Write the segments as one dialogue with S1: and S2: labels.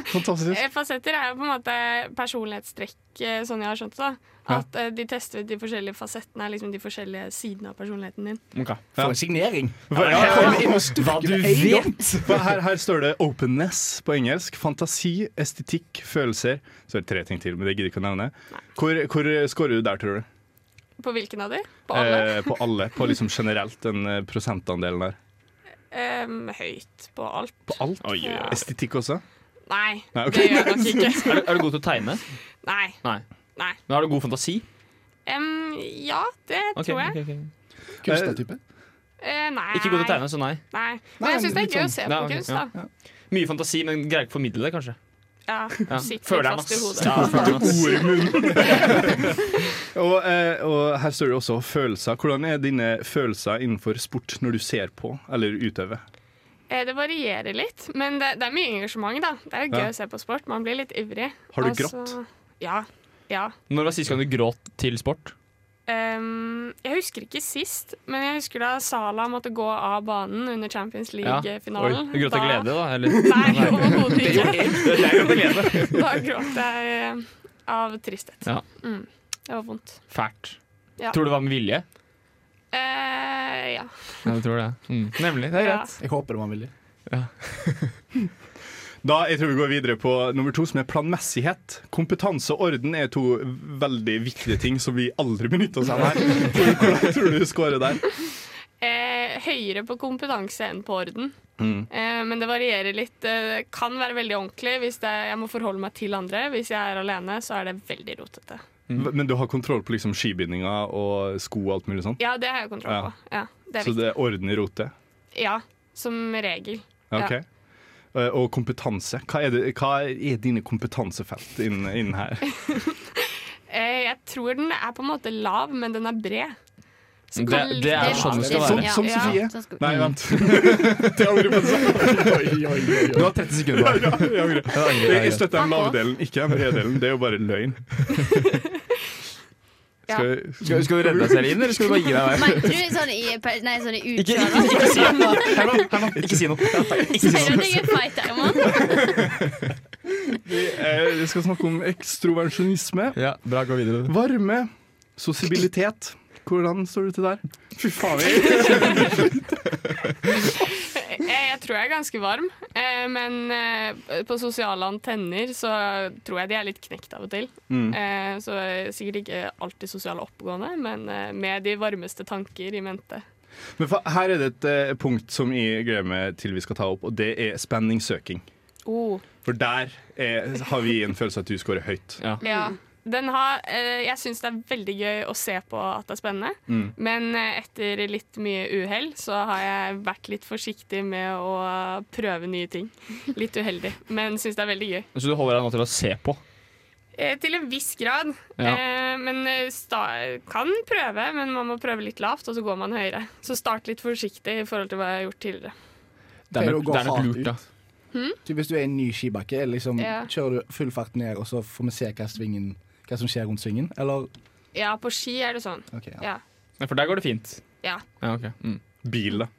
S1: Fantastisk
S2: Eh, Fasetter er jo på en måte personlighetstrekk, eh, sånn jeg har skjønt det. da. At eh, de tester ut de forskjellige fasettene, liksom de forskjellige sidene av personligheten din.
S1: For en
S3: signering!
S1: Hva du vet! For her, her står det 'openness' på engelsk. Fantasi, estetikk, følelser. Så er det tre ting til, men det gidder jeg ikke å nevne. Hvor, hvor scorer du der, tror du?
S2: På hvilken av de? På alle?
S1: Eh, på alle. På liksom generelt den eh, prosentandelen der.
S2: Em, høyt på alt.
S1: På alt.
S2: oi, oi.
S1: Estetikk også?
S2: Nei,
S1: Nei, ok.
S2: det gjør jeg nok ikke.
S3: Er du, er du god til å tegne?
S2: Nei.
S3: Nei.
S2: Nei.
S3: Men har du god fantasi?
S2: Em, ja, det
S3: Ok,
S2: tror
S3: ok,
S2: jeg.
S3: ok.
S4: Kunstnertype.
S2: Eh, nei.
S3: Ikke god til å tegne, så nei.
S2: Nei. Men
S4: Nei,
S2: jeg syns det er
S4: litt
S2: gøy å
S4: sånn-
S2: se på
S3: Nei, ok,
S2: kunst, da.
S3: Mye fantasi, men greier ikke å formidle det, kanskje.
S2: Ja.
S3: Ja.
S2: Sitter
S3: Føler den,
S2: litt fast i
S3: ass.
S2: hodet.
S3: Ja, føler den, ass.
S1: Ord i munnen. og, eh, og her står det også følelser. Hvordan er dine følelser innenfor sport når du ser på eller utøver?
S2: Eh, Det varierer litt, men det, det er mye engasjement, da. Det er jo gøy
S1: Ja.
S2: å se på sport. Man blir litt ivrig.
S1: Har du
S2: Og så-
S1: grått?
S2: Ja. Ja.
S3: Når var sist gang du gråt til sport?
S2: Em, jeg husker ikke sist, men jeg husker da Sala måtte gå av banen under Champions League-finalen.
S3: Du gråt av glede, da? Eller?
S2: Nei, overhodet ikke.
S3: Jeg gråt av glede.
S2: Da gråt jeg eh, av tristhet.
S3: Ja.
S2: Mm, det var vondt.
S3: Fælt.
S2: Ja.
S3: Tror du det var med vilje?
S2: Eh, ja.
S3: Ja, du tror det. Mm. Nemlig. Det er
S2: Ja.
S3: greit.
S4: Jeg håper det var en vilje.
S1: Da, jeg tror vi går videre på nummer to, som er planmessighet. Kompetanse og orden er to veldig viktige ting som vi aldri benytter oss av her. Hvor- Hvordan tror du du scorer der?
S2: Eh, høyere på kompetanse enn på orden.
S3: Mm.
S2: Eh, men det varierer litt. Eh, kan være veldig ordentlig hvis det, jeg må forholde meg til andre. Hvis jeg er alene, så er det veldig rotete.
S1: Men du har kontroll på liksom skibindinga og sko og alt mulig sånn?
S2: Ja, det har jeg kontroll
S1: Ja.
S2: på. Ja, det er
S1: Så
S2: viktig.
S1: det er orden i rotet?
S2: Ja, som regel.
S1: Ok. Eh, Og kompetanse. Hva er, det, hva er dine kompetansefelt innen, innen her?
S2: Eh, jeg tror den er på en måte lav, men den er bred. Så
S3: Det-
S2: kan litt-
S3: det er sånn det skal være.
S1: Som- som Sofie.
S5: Sånn skal vi-
S1: Nei, vent.
S2: Mm.
S3: Du har 30 sekunder på deg.
S1: Jeg støtter den lavdelen, ikke den bredelen. Det er jo bare løgn.
S2: Ja.
S1: Skal jeg-
S3: Skal, skal du redde deg selv inn, eller skal du bare gi deg?
S5: Men tror du sånn i, per- nei, sånn i
S3: Ikke, ikke,
S5: utkjøret
S3: ikke si noe! Herman, Herman, ikke si noe. Ikke si
S5: Sier du
S3: noe.
S5: at jeg er feit, Herman?
S1: Vi eh, vi skal snakke om ekstroversjonisme.
S3: Ja, bra, gå videre.
S1: Varme. Sosibilitet. Hvordan står du til der? Fy faen, jeg
S2: Eh, jeg tror jeg er ganske varm, eh, men eh, på sosiale antenner så tror jeg de er litt knekt av og til. Eh, så jeg er sikkert ikke alltid sosiale oppegående, men eh, med de varmeste tanker i mente.
S1: Men for, her er det et eh, punkt som jeg gleder meg til vi skal ta opp, og det er spenningssøking.
S2: Oh,
S1: For der er, har vi en følelse at du scorer høyt.
S2: ja. Den har, eh, jeg syns det er veldig gøy å se på at det er spennende, men eh, etter litt mye uhell så har jeg vært litt forsiktig med å prøve nye ting. Litt uheldig, men syns det er veldig gøy.
S3: Så du holder deg nå til å se på?
S2: Eh, til en viss grad.
S3: Ja.
S2: Eh, men eh, sta kan prøve, men man må prøve litt lavt, og så går man høyere. Så start litt forsiktig i forhold til hva jeg har gjort tidligere.
S3: Det
S4: Pleier
S3: er
S4: du å
S3: nok,
S4: gå
S3: det er nok
S4: hardt
S3: lurt,
S4: ut?
S3: da.
S4: Typ Hvis du er i en ny skibakke, er det liksom,
S2: Ja.
S4: kjører du full fart ned, og så får vi se hva, svingen, hva som skjer rundt svingen? Eller
S2: Ja, på ski er det sånn.
S4: OK. Ja.
S2: Ja.
S3: Ja, for der går det fint.
S2: Ja.
S3: ja ok. Mm.
S1: Bil, da.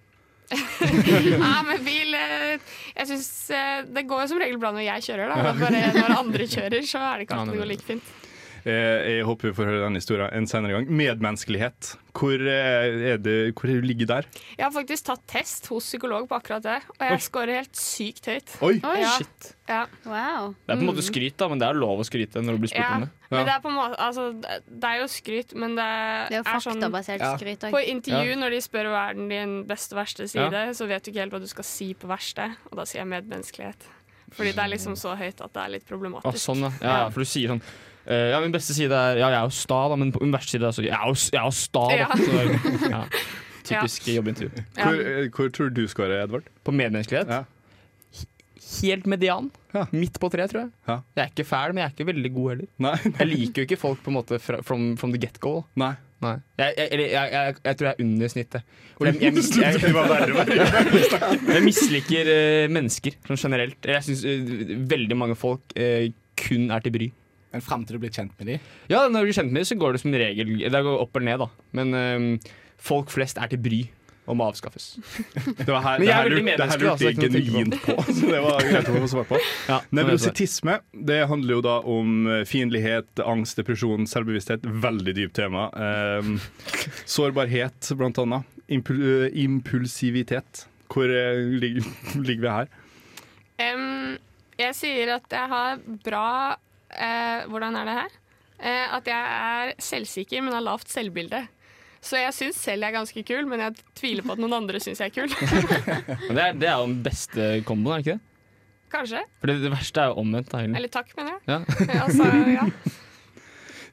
S2: ja, men bil eh, Jeg syns eh, Det går jo som regel bra når jeg kjører, da. Men bare når andre kjører, så er det ikke
S3: Ja,
S2: alltid
S3: det
S2: det
S3: er
S2: går like fint.
S1: Eh, jeg håper vi får høre denne historien en senere gang. Medmenneskelighet. Hvor, eh, er det, hvor er du ligger der?
S2: Jeg har faktisk tatt test hos psykolog på akkurat det, og jeg scorer helt sykt høyt.
S1: Oi!
S5: Oi,
S2: Ja.
S3: Shit.
S2: Ja.
S5: wow.
S3: Det er på en måte skryt, da, men det er lov å skryte når du blir spurt
S2: ja.
S3: om det.
S2: Men det er på en måte Altså, det det er jo skryt, men det,
S5: Det er jo
S2: sånn
S5: faktabasert
S4: Ja.
S5: skryt
S2: På
S5: òg.
S2: intervju, når de spør hva er den din beste og verste side,
S3: Ja.
S2: så vet du ikke helt hva du skal si på verste, og da sier jeg medmenneskelighet. Fordi det er liksom så høyt at det er litt
S3: Å,
S2: problematisk.
S3: sånn, ja. ja. ja, For du sier sånn eh, Ja, min beste side er Ja, jeg er jo sta, da, men på min verste side er så Jeg er jo, jeg er jo sta, da.
S2: Ja.
S3: Så, ja. Typisk jobbintervju.
S2: Ja.
S1: Hvor, eh, hvor tror du du scorer, Edvard?
S3: På medmenneskelighet?
S1: Ja.
S3: H- Helt median.
S1: Ja.
S3: Midt på tre, tror jeg.
S1: Ja.
S3: Jeg er ikke fæl, men jeg er ikke veldig god heller.
S1: Nei.
S3: Jeg liker jo ikke folk på en måte fra, from, from the get go. da.
S1: Nei.
S3: Nei. Jeg, jeg, eller jeg, jeg, jeg tror jeg er under snittet. For Jeg, jeg, mis- jeg,
S1: Det var verre, verre.
S3: jeg misliker eh, mennesker sånn generelt. Eller Jeg syns veldig mange folk eh, kun er til bry.
S4: Men fram til du blir kjent med dem?
S3: Ja, når du blir kjent med dem, så går det som regel Det går opp eller ned, da. Men eh, folk flest er til bry og må avskaffes.
S1: Det var her,
S3: Men
S1: det
S3: jeg er
S1: her,
S3: veldig
S1: lurte- det her lurte
S3: medmenneskelig,
S1: jeg
S3: altså, jeg kan
S1: genuint på, så det var greit å få svar på.
S3: Ja,
S1: Nevrositisme det handler jo da om eh, fiendtlighet, angst, depresjon, selvbevissthet. Veldig dypt tema. Ehm, sårbarhet, blant annet. Impul eh, impulsivitet. Hvor eh, lig ligger vi her?
S2: Em, jeg sier at jeg har bra eh, Hvordan er det her? Eh, at jeg er selvsikker, men har lavt selvbilde. Så jeg syns selv jeg er ganske kul, men jeg tviler på at noen andre syns jeg er kul.
S3: Men det, er, det er jo den beste komboen, er det ikke det?
S2: kanskje.
S3: For det, det verste er jo omvendt. da, egentlig.
S2: Eller takk, mener jeg.
S3: Ja.
S2: Altså, ja.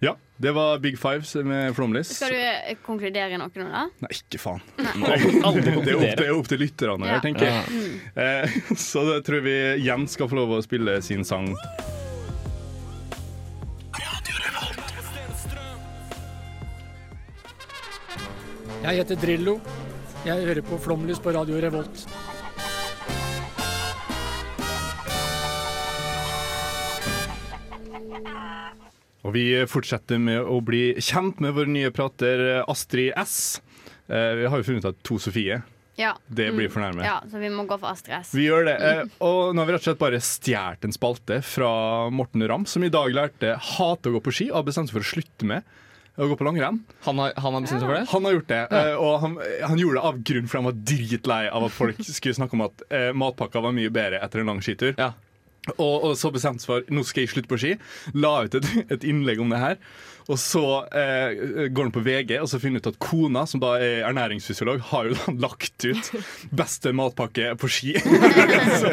S1: Ja, det var Big Fives med Flomlys.
S5: Skal du eh, konkludere noe nå, da?
S1: Nei, ikke faen.
S3: Aldri
S1: Det er opp, det
S3: konkludere.
S1: er opp til lytterne her,
S5: Ja.
S1: tenker jeg. Eh, så da tror vi Jens skal få lov å spille sin sang.
S4: Jeg heter Drillo. Jeg hører på Flomlys på Radio Revolt.
S1: Og vi fortsetter med å bli kjent med vår nye prater Astrid S. Eh, vi har jo funnet ut at to Sofie,
S5: Ja.
S1: det blir for nærme.
S5: Mm. ja, så vi må gå for Astrid S.
S1: Vi gjør det. eh, Og nå har vi rett og slett bare stjålet en spalte fra Morten Ramm, som i dag lærte hate å gå på ski og har bestemt seg for å slutte med å gå på langrenn.
S3: Han har, han har bestemt seg for det?
S1: Han har gjort det, eh, og han, han gjorde det av grunn for han var dritlei av at folk skulle snakke om at eh, matpakka var mye bedre etter en lang skitur.
S3: Ja.
S1: Og, og så bestemte han seg for nå skal jeg slutte på ski. La ut et, et innlegg om det her. Og så eh, går han på VG og så finner han ut at kona, som da er ernæringsfysiolog, har jo da lagt ut 'beste matpakke på ski'. så,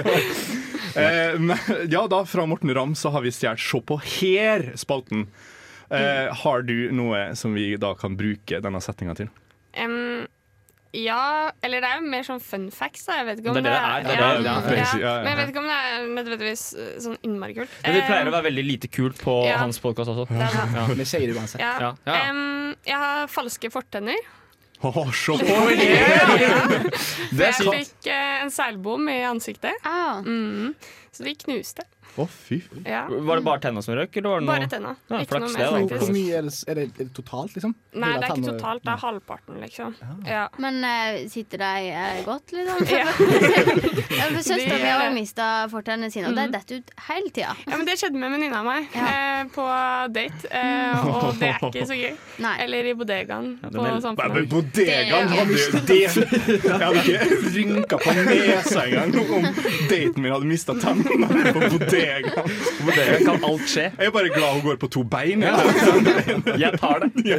S1: eh, men, ja, da fra Morten Ramm så har vi stjålet 'Se på her'-spalten. Eh, har du noe som vi da kan bruke denne setninga til?
S2: Em, ja, eller det er jo mer sånn fun facts, da. Jeg vet ikke om
S3: Det er det det er.
S2: Ja,
S3: Det er det det
S1: er.
S2: ja.
S1: Ja, ja, ja.
S2: Men jeg vet ikke om det er nødvendigvis eh, sånn innmari kult.
S3: Men vi pleier å
S2: Em,
S3: være veldig lite kult på
S2: Ja.
S3: hans podkast også.
S2: det er bra.
S4: Vi sier det uansett.
S2: Ja.
S3: Ja, ja, ja.
S2: Em, jeg har falske fortenner.
S1: Åh, se på
S3: Det er
S2: jeg
S3: sykt.
S2: fikk eh, en seilbom i ansiktet, Mm.
S5: Ah,
S2: så de knuste.
S1: Å, fy. faen.
S2: Ja.
S3: Var det bare tenna som røk? Eller var det noe?
S2: Bare tenna.
S3: Ja,
S2: Ikke noe
S3: flaks
S2: mer,
S3: det, da.
S4: Hvor
S2: faktisk.
S4: mye er det, er det, er det totalt, liksom?
S2: Nei,
S4: Hele
S2: det er ikke
S4: tann-
S2: totalt. Det er halvparten, liksom. Ja.
S5: men eh, sitter de eh, godt, liksom?
S2: Ja.
S5: Ja, for Søstera
S2: De-
S5: mi har mista fortennene sine, og
S2: Mm.
S5: de detter ut hele tida.
S2: Ja, men Det skjedde med en venninne av meg eh, på date, eh, og det er ikke så gøy.
S5: Nei.
S2: Eller i bodegaen på
S3: men-
S1: Nei, men
S2: Samfunnet.
S1: bodegaen hadde jo det Jeg hadde ikke rynka på nesa engang om daten min hadde mista tennene på bodegaen.
S3: På dere kan alt skje.
S1: Jeg er bare glad hun går på to bein. jeg.
S3: Jeg tar det.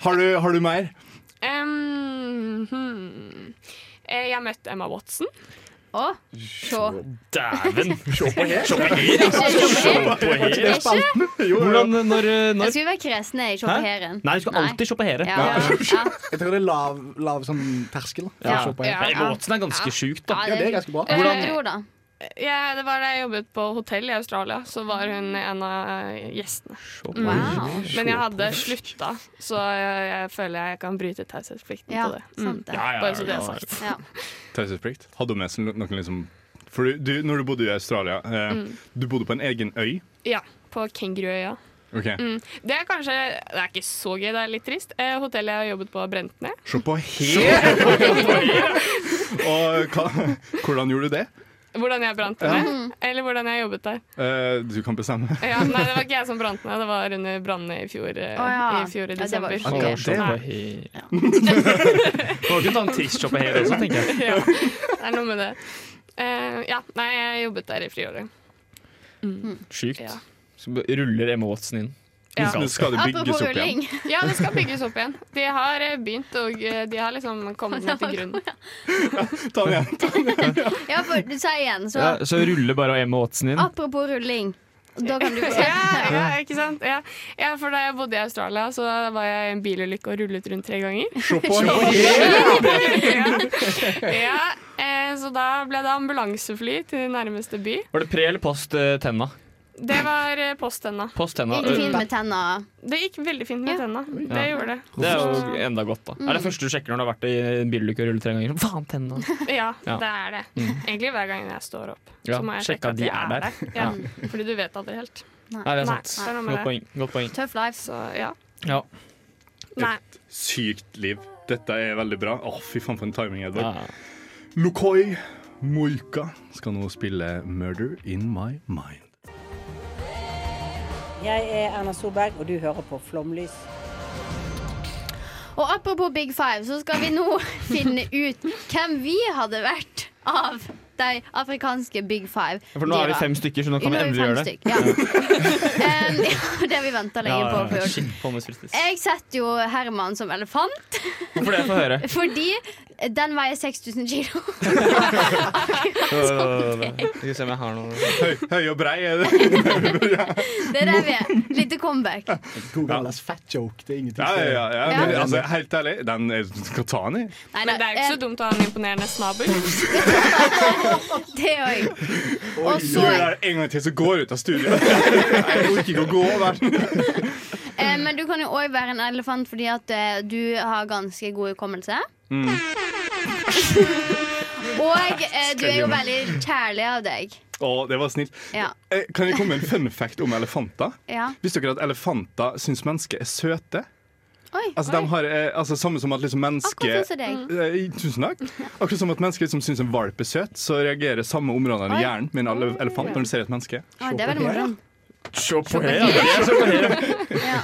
S1: Har, du, har du mer?
S2: Em, hmm. Eh, Jeg møtte Emma Watson.
S5: Å, se.
S3: Dæven! Se på her!
S5: Er ikke?
S3: Hvordan, eh, når,
S5: Jeg
S3: når?
S5: skulle være kresen jeg, i
S3: Hæ?
S5: sjåføren.
S3: Nei, du skal alltid se på her.
S5: Ja, ja.
S4: Jeg tror det er lav, lav sånn terskel. da, for å
S5: Ja.
S4: se på her.
S2: Ja.
S3: Båtsen er ganske sjukt, da.
S4: Ja, det er ganske bra.
S5: Eh,
S3: Hvordan-
S5: jo da.
S2: Eh, Ja, det var da jeg jobbet på hotell i Australia, så var hun en av eh, gjestene. Mm.
S5: Wow.
S2: Men jeg hadde slutta, så jeg, jeg føler jeg kan bryte taushetsplikten
S5: Ja,
S2: på det. Mm.
S5: sant det.
S2: Bare så det er sagt.
S5: Ja.
S1: Taushetsplikt. Hadde hun med seg noen liksom For du, du, når du bodde i Australia, eh, du bodde på en egen øy. Mm.
S2: Ja, på Kenguruøya.
S1: Ok,
S2: Det er kanskje Det er ikke så gøy, det er litt trist. Eh, hotellet jeg har jobbet på, brente ned.
S1: Se på her! Og hva, hvordan gjorde du det?
S2: Hvordan jeg brant det ned? Eller hvordan jeg jobbet der.
S1: Eh, du kan bestemme.
S2: Ja, nei, det var ikke jeg som brant ned, det var under brannene i fjor. eh,
S5: Å ja.
S2: I fjor i
S5: Ja, det
S2: desember.
S5: var ikke
S1: Akkurat
S5: gøy.
S1: det.
S3: Ja. Du kan ikke ta en trist shoppe her også, tenker jeg.
S2: Ja, det er noe med det. Eh, ja, nei, jeg jobbet der i friåret.
S3: Sjukt.
S2: Ja.
S3: Så b- ruller Emma Watson inn.
S2: Ja.
S1: Nå skal det
S5: Apropos
S1: bygges opp igjen.
S5: rulling.
S2: ja, det skal bygges opp igjen. De har eh, begynt, og eh, de har liksom kommet ned til grunnen.
S1: Ta den igjen.
S5: Ja, for du sier igjen, så Ah.
S3: Ja, så ruller bare Emma Watson inn.
S5: apropos rulling. Da kan du
S2: Ja, ja, ikke sant? Ja. ja, for da jeg bodde i Australia, så var jeg i en bilulykke og rullet rundt tre ganger.
S1: Se på her!
S2: Ja, eh, så da ble det ambulansefly til nærmeste by.
S3: Var det pre eller post eh, tenna?
S2: Det var eh, post tenna.
S3: Post tenna. Eh,
S5: Gikk det fint med tenna?
S2: Det gikk veldig fint med
S5: Ja.
S2: tenna. Det gjorde det.
S3: Det er jo enda godt, da. Er det første du sjekker når du har vært i en bilulykke og rullet tre ganger? Faen, tenna!
S2: Ja,
S3: Ja. Mm.
S2: det er det. Egentlig hver gang jeg står opp,
S3: Ja,
S2: så må jeg
S3: sjekke at
S2: sjekke at
S3: de
S2: jeg
S3: er
S2: er
S3: der.
S2: der. Ja, fordi du vet aldri helt.
S3: Nei, det er
S2: Nei,
S3: sant.
S2: det er noe med
S3: Godt poeng. Godt poeng.
S5: Tøff life.
S2: Så ja.
S3: Ja.
S2: Nei.
S1: Sykt liv. Dette er veldig bra. Å, fy faen for en timing, Edvard.
S3: Ja.
S1: Lokoi Moika skal nå spille 'Murder In My Mind'.
S6: Jeg er Erna Solberg, og du hører på Flomlys.
S5: Og apropos Big Five, så skal vi nå finne ut hvem vi hadde vært av de afrikanske Big Five.
S3: For nå er vi fem stykker, så nå kan vi endelig gjøre det.
S5: Ja. Um, ja, det har vi vi venta lenge på å få gjort.
S3: Shit, pommes frites.
S5: Jeg setter jo Herman som elefant,
S3: Hvorfor det? Få høre.
S5: fordi den veier 6000 kilo.
S3: Skal vi se om jeg har noe
S1: Høy, høy og brei er det.
S5: Det er der vi er. Lite comeback.
S7: Gorillas fat joke, det er ingenting.
S1: Ja, ja, ja,
S5: Ja.
S1: men altså, helt ærlig, den er, skal ta den i.
S2: Men det er
S5: Eh,
S2: jo ikke så dumt å ha en imponerende snabel.
S5: Det òg. Og
S1: Gjør
S5: så
S1: det der en gang til, så går jeg ut av studio. Jeg orker ikke å gå over.
S5: Eh, men du kan jo òg være en elefant fordi at eh, du har ganske god hukommelse. Og eh, du er jo veldig kjærlig av deg.
S1: Å, det var snilt.
S5: Ja.
S1: Eh, Kan jeg komme med en fun fact om elefanter?
S5: ja.
S1: Visste dere at elefanter syns mennesker er søte?
S5: Oi.
S1: Altså, de har, eh, altså Samme som at liksom mennesker
S5: Akkurat sånn som deg.
S1: Eh, Tusen takk. Akkurat som at mennesker liksom syns en valp er søt, så reagerer samme områdene i
S5: Oi.
S1: hjernen med en ele- elefant når de ser et menneske.
S5: Ah, det er veldig morsomt.
S3: Se på her, ja. Det er så på her.
S5: Ja.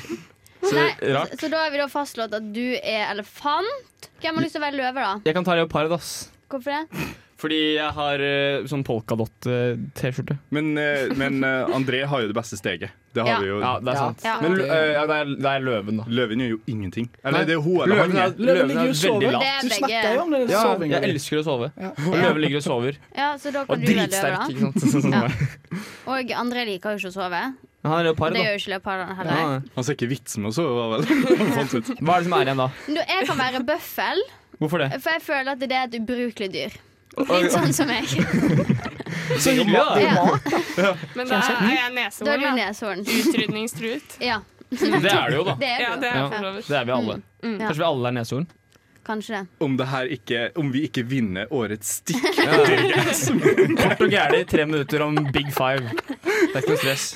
S3: Så
S5: Nei,
S3: rart.
S5: så da har vi da fastslått at du er elefant. Hvem har lyst til å være løve, da?
S3: Jeg kan ta leopard, ass.
S5: Hvorfor det?
S3: Fordi jeg har eh, sånn polkadott-T-skjorte.
S1: Men, eh, men eh, André har jo det beste steget. Det har
S5: Ja.
S1: vi jo.
S3: Ja, det er sant.
S5: Ja.
S3: Men eh, ja, det, er, det er løven, da.
S1: Løven gjør jo ingenting.
S3: Nei.
S1: Eller det er hun eller
S3: Løven
S1: han.
S3: er, løven
S7: ligger
S3: er
S7: jo og sover.
S3: veldig
S5: Det
S3: lat.
S5: er
S7: Du snakka jo
S5: begge.
S7: om det
S3: Ja,
S7: sovinga
S3: jeg
S7: di.
S3: elsker å sove. Og løven ligger og sover.
S5: Ja, så da kan
S3: Og
S5: du være løve,
S3: dritsterk,
S5: da.
S3: ikke sant. Sånn som
S5: Ja.
S3: meg.
S5: Og André liker jo ikke å sove.
S3: Han er leopard, da.
S5: Det
S3: Ah.
S5: gjør jo ikke leopardene
S3: Ja.
S5: heller.
S1: Han ser ikke vitsen med å sove, var vel. Fant ut.
S3: Hva er det som er igjen da?
S5: Men du, jeg kan være bøffel,
S3: Hvorfor det?
S5: for jeg føler at det er et ubrukelig dyr. Litt sånn som meg.
S3: Så hyggelig, da.
S5: Ja,
S2: Men da er jeg
S5: da er du
S2: neshorn. da.
S5: neshorn.
S2: Utrydningstruet.
S5: Ja,
S3: Det er det jo, da.
S5: det er
S2: Ja,
S5: du.
S2: det
S3: Ja.
S2: er jeg for så vidt.
S3: Det er vi alle.
S5: Ja.
S3: Kanskje vi alle er neshorn?
S5: Kanskje det.
S1: Om, det her ikke, om vi ikke vinner årets stikk.
S3: Kort og gæli, tre minutter om big five. Det er ikke noe stress.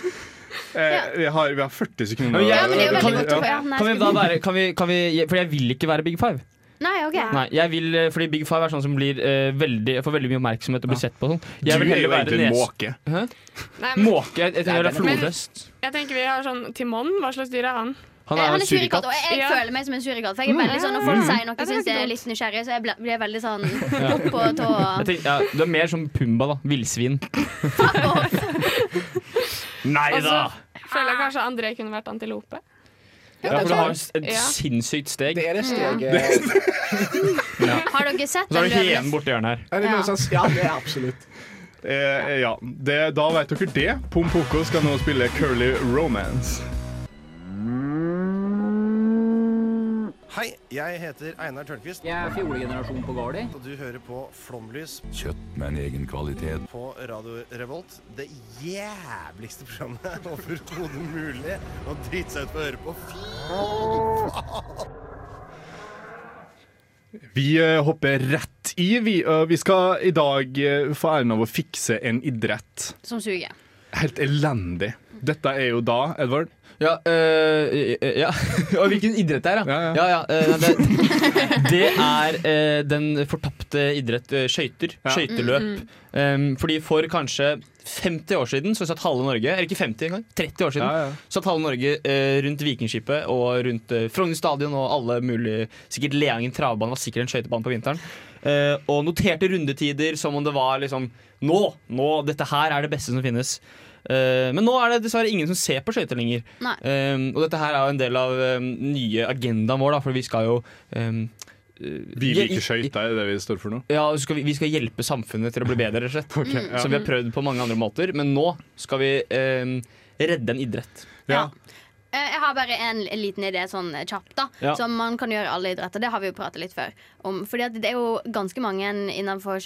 S1: Eh, vi, har, vi har 40 sekunder.
S3: Ja, men jeg-
S5: Ja, men det er jo veldig
S3: Kan-
S5: godt å få. Ja, nei,
S3: Kan vi da være kan vi, kan vi, For jeg vil ikke være big five.
S5: Nei, OK.
S3: Nei, jeg vil, eh, fordi Big Five er sånn som blir eh, veldig, får veldig mye oppmerksomhet og blir sett på. og Sånn.
S1: Du
S3: Jeg
S1: er
S3: vil heller
S1: jo
S3: være
S1: egentlig en
S3: nes...
S1: måke.
S2: Nei, men
S3: Måke? Jeg, jeg, jeg, jeg er flodhest.
S2: jeg tenker vi har sånn Timon. Hva slags dyr er han?
S3: Han
S5: Eh,
S3: er
S5: Han
S3: en
S5: er surikatt,
S3: surikatt. Mm.
S5: og jeg, jeg
S2: Ja.
S5: føler meg som en surikatt. For jeg er veldig sånn, Når folk sier noe
S2: det er
S5: syns
S2: ikke
S5: jeg er
S2: dumt.
S5: litt nysgjerrig, så jeg ble- blir veldig sånn opp på tå.
S3: Jeg tenker, ja, du er mer som Pumba, da. Villsvin. Nei da!
S2: Altså- Føler jeg kanskje André kunne vært antilope.
S3: Ja, for du har et
S2: Ja.
S3: sinnssykt steg.
S7: Det er det steget
S5: Har dere sett
S3: Og så
S5: den
S3: har du hyen
S5: løven?
S3: borti hjørnet her.
S7: Er det
S5: Ja.
S7: noe som Ja, det er absolutt.
S1: Eh, ja, det, Da vet dere det. Pompoko skal nå spille Curly Romance.
S8: Hei, jeg heter Einar Tørnquist. Jeg er fjolegenerasjon på Gardi. Og du hører på Flomlys
S9: Kjøtt med en egen kvalitet.
S8: på Radio Revolt. Det jævligste programmet overhodet mulig. Og drite seg ut på å høre på.
S1: Vi eh, hopper rett i. Vi, eh, vi skal i dag eh, få æren av å fikse en idrett.
S5: Som suger.
S1: Helt elendig. Dette er jo da, Edvard
S3: Ja, øh, ja. Og hvilken idrett det er,
S1: Ja, ja.
S3: ja. ja, øh, det, det er øh, den fortapte idrett øh, skøyter.
S1: Ja.
S3: Skøyteløp.
S5: Mm,
S3: Um, fordi for kanskje 50 år siden så satt halve Norge Eller ikke 50 engang, 30 år siden.
S1: Ja, ja.
S3: Satt halve Norge øh, rundt Vikingskipet og rundt øh, Frogner stadion og alle mulige Sikkert Leangen travbane var sikkert en skøytebane på vinteren. Eh, og noterte rundetider som om det var liksom Nå! nå, Dette her er det beste som finnes. Eh, men nå er det dessverre ingen som ser på skøyter lenger.
S5: Nei.
S3: Um, og dette her er jo en del av um, nye agendaen vår, da, for vi skal jo um,
S1: Vi
S3: Ja,
S1: liker
S3: i-
S1: skøyter, er det vi står for nå?
S3: ja, så skal vi, vi skal hjelpe samfunnet til å bli bedre, rett og slett.
S1: Ok, ja.
S3: Som vi har prøvd på mange andre måter, men nå skal vi um, redde en idrett.
S1: Ja.
S5: Eh, Jeg har bare en l- liten idé sånn eh, kjapt, da.
S3: Ja.
S5: Som man kan gjøre i alle idretter. Det har vi jo pratet litt før om. Fordi at det er jo ganske mange innenfor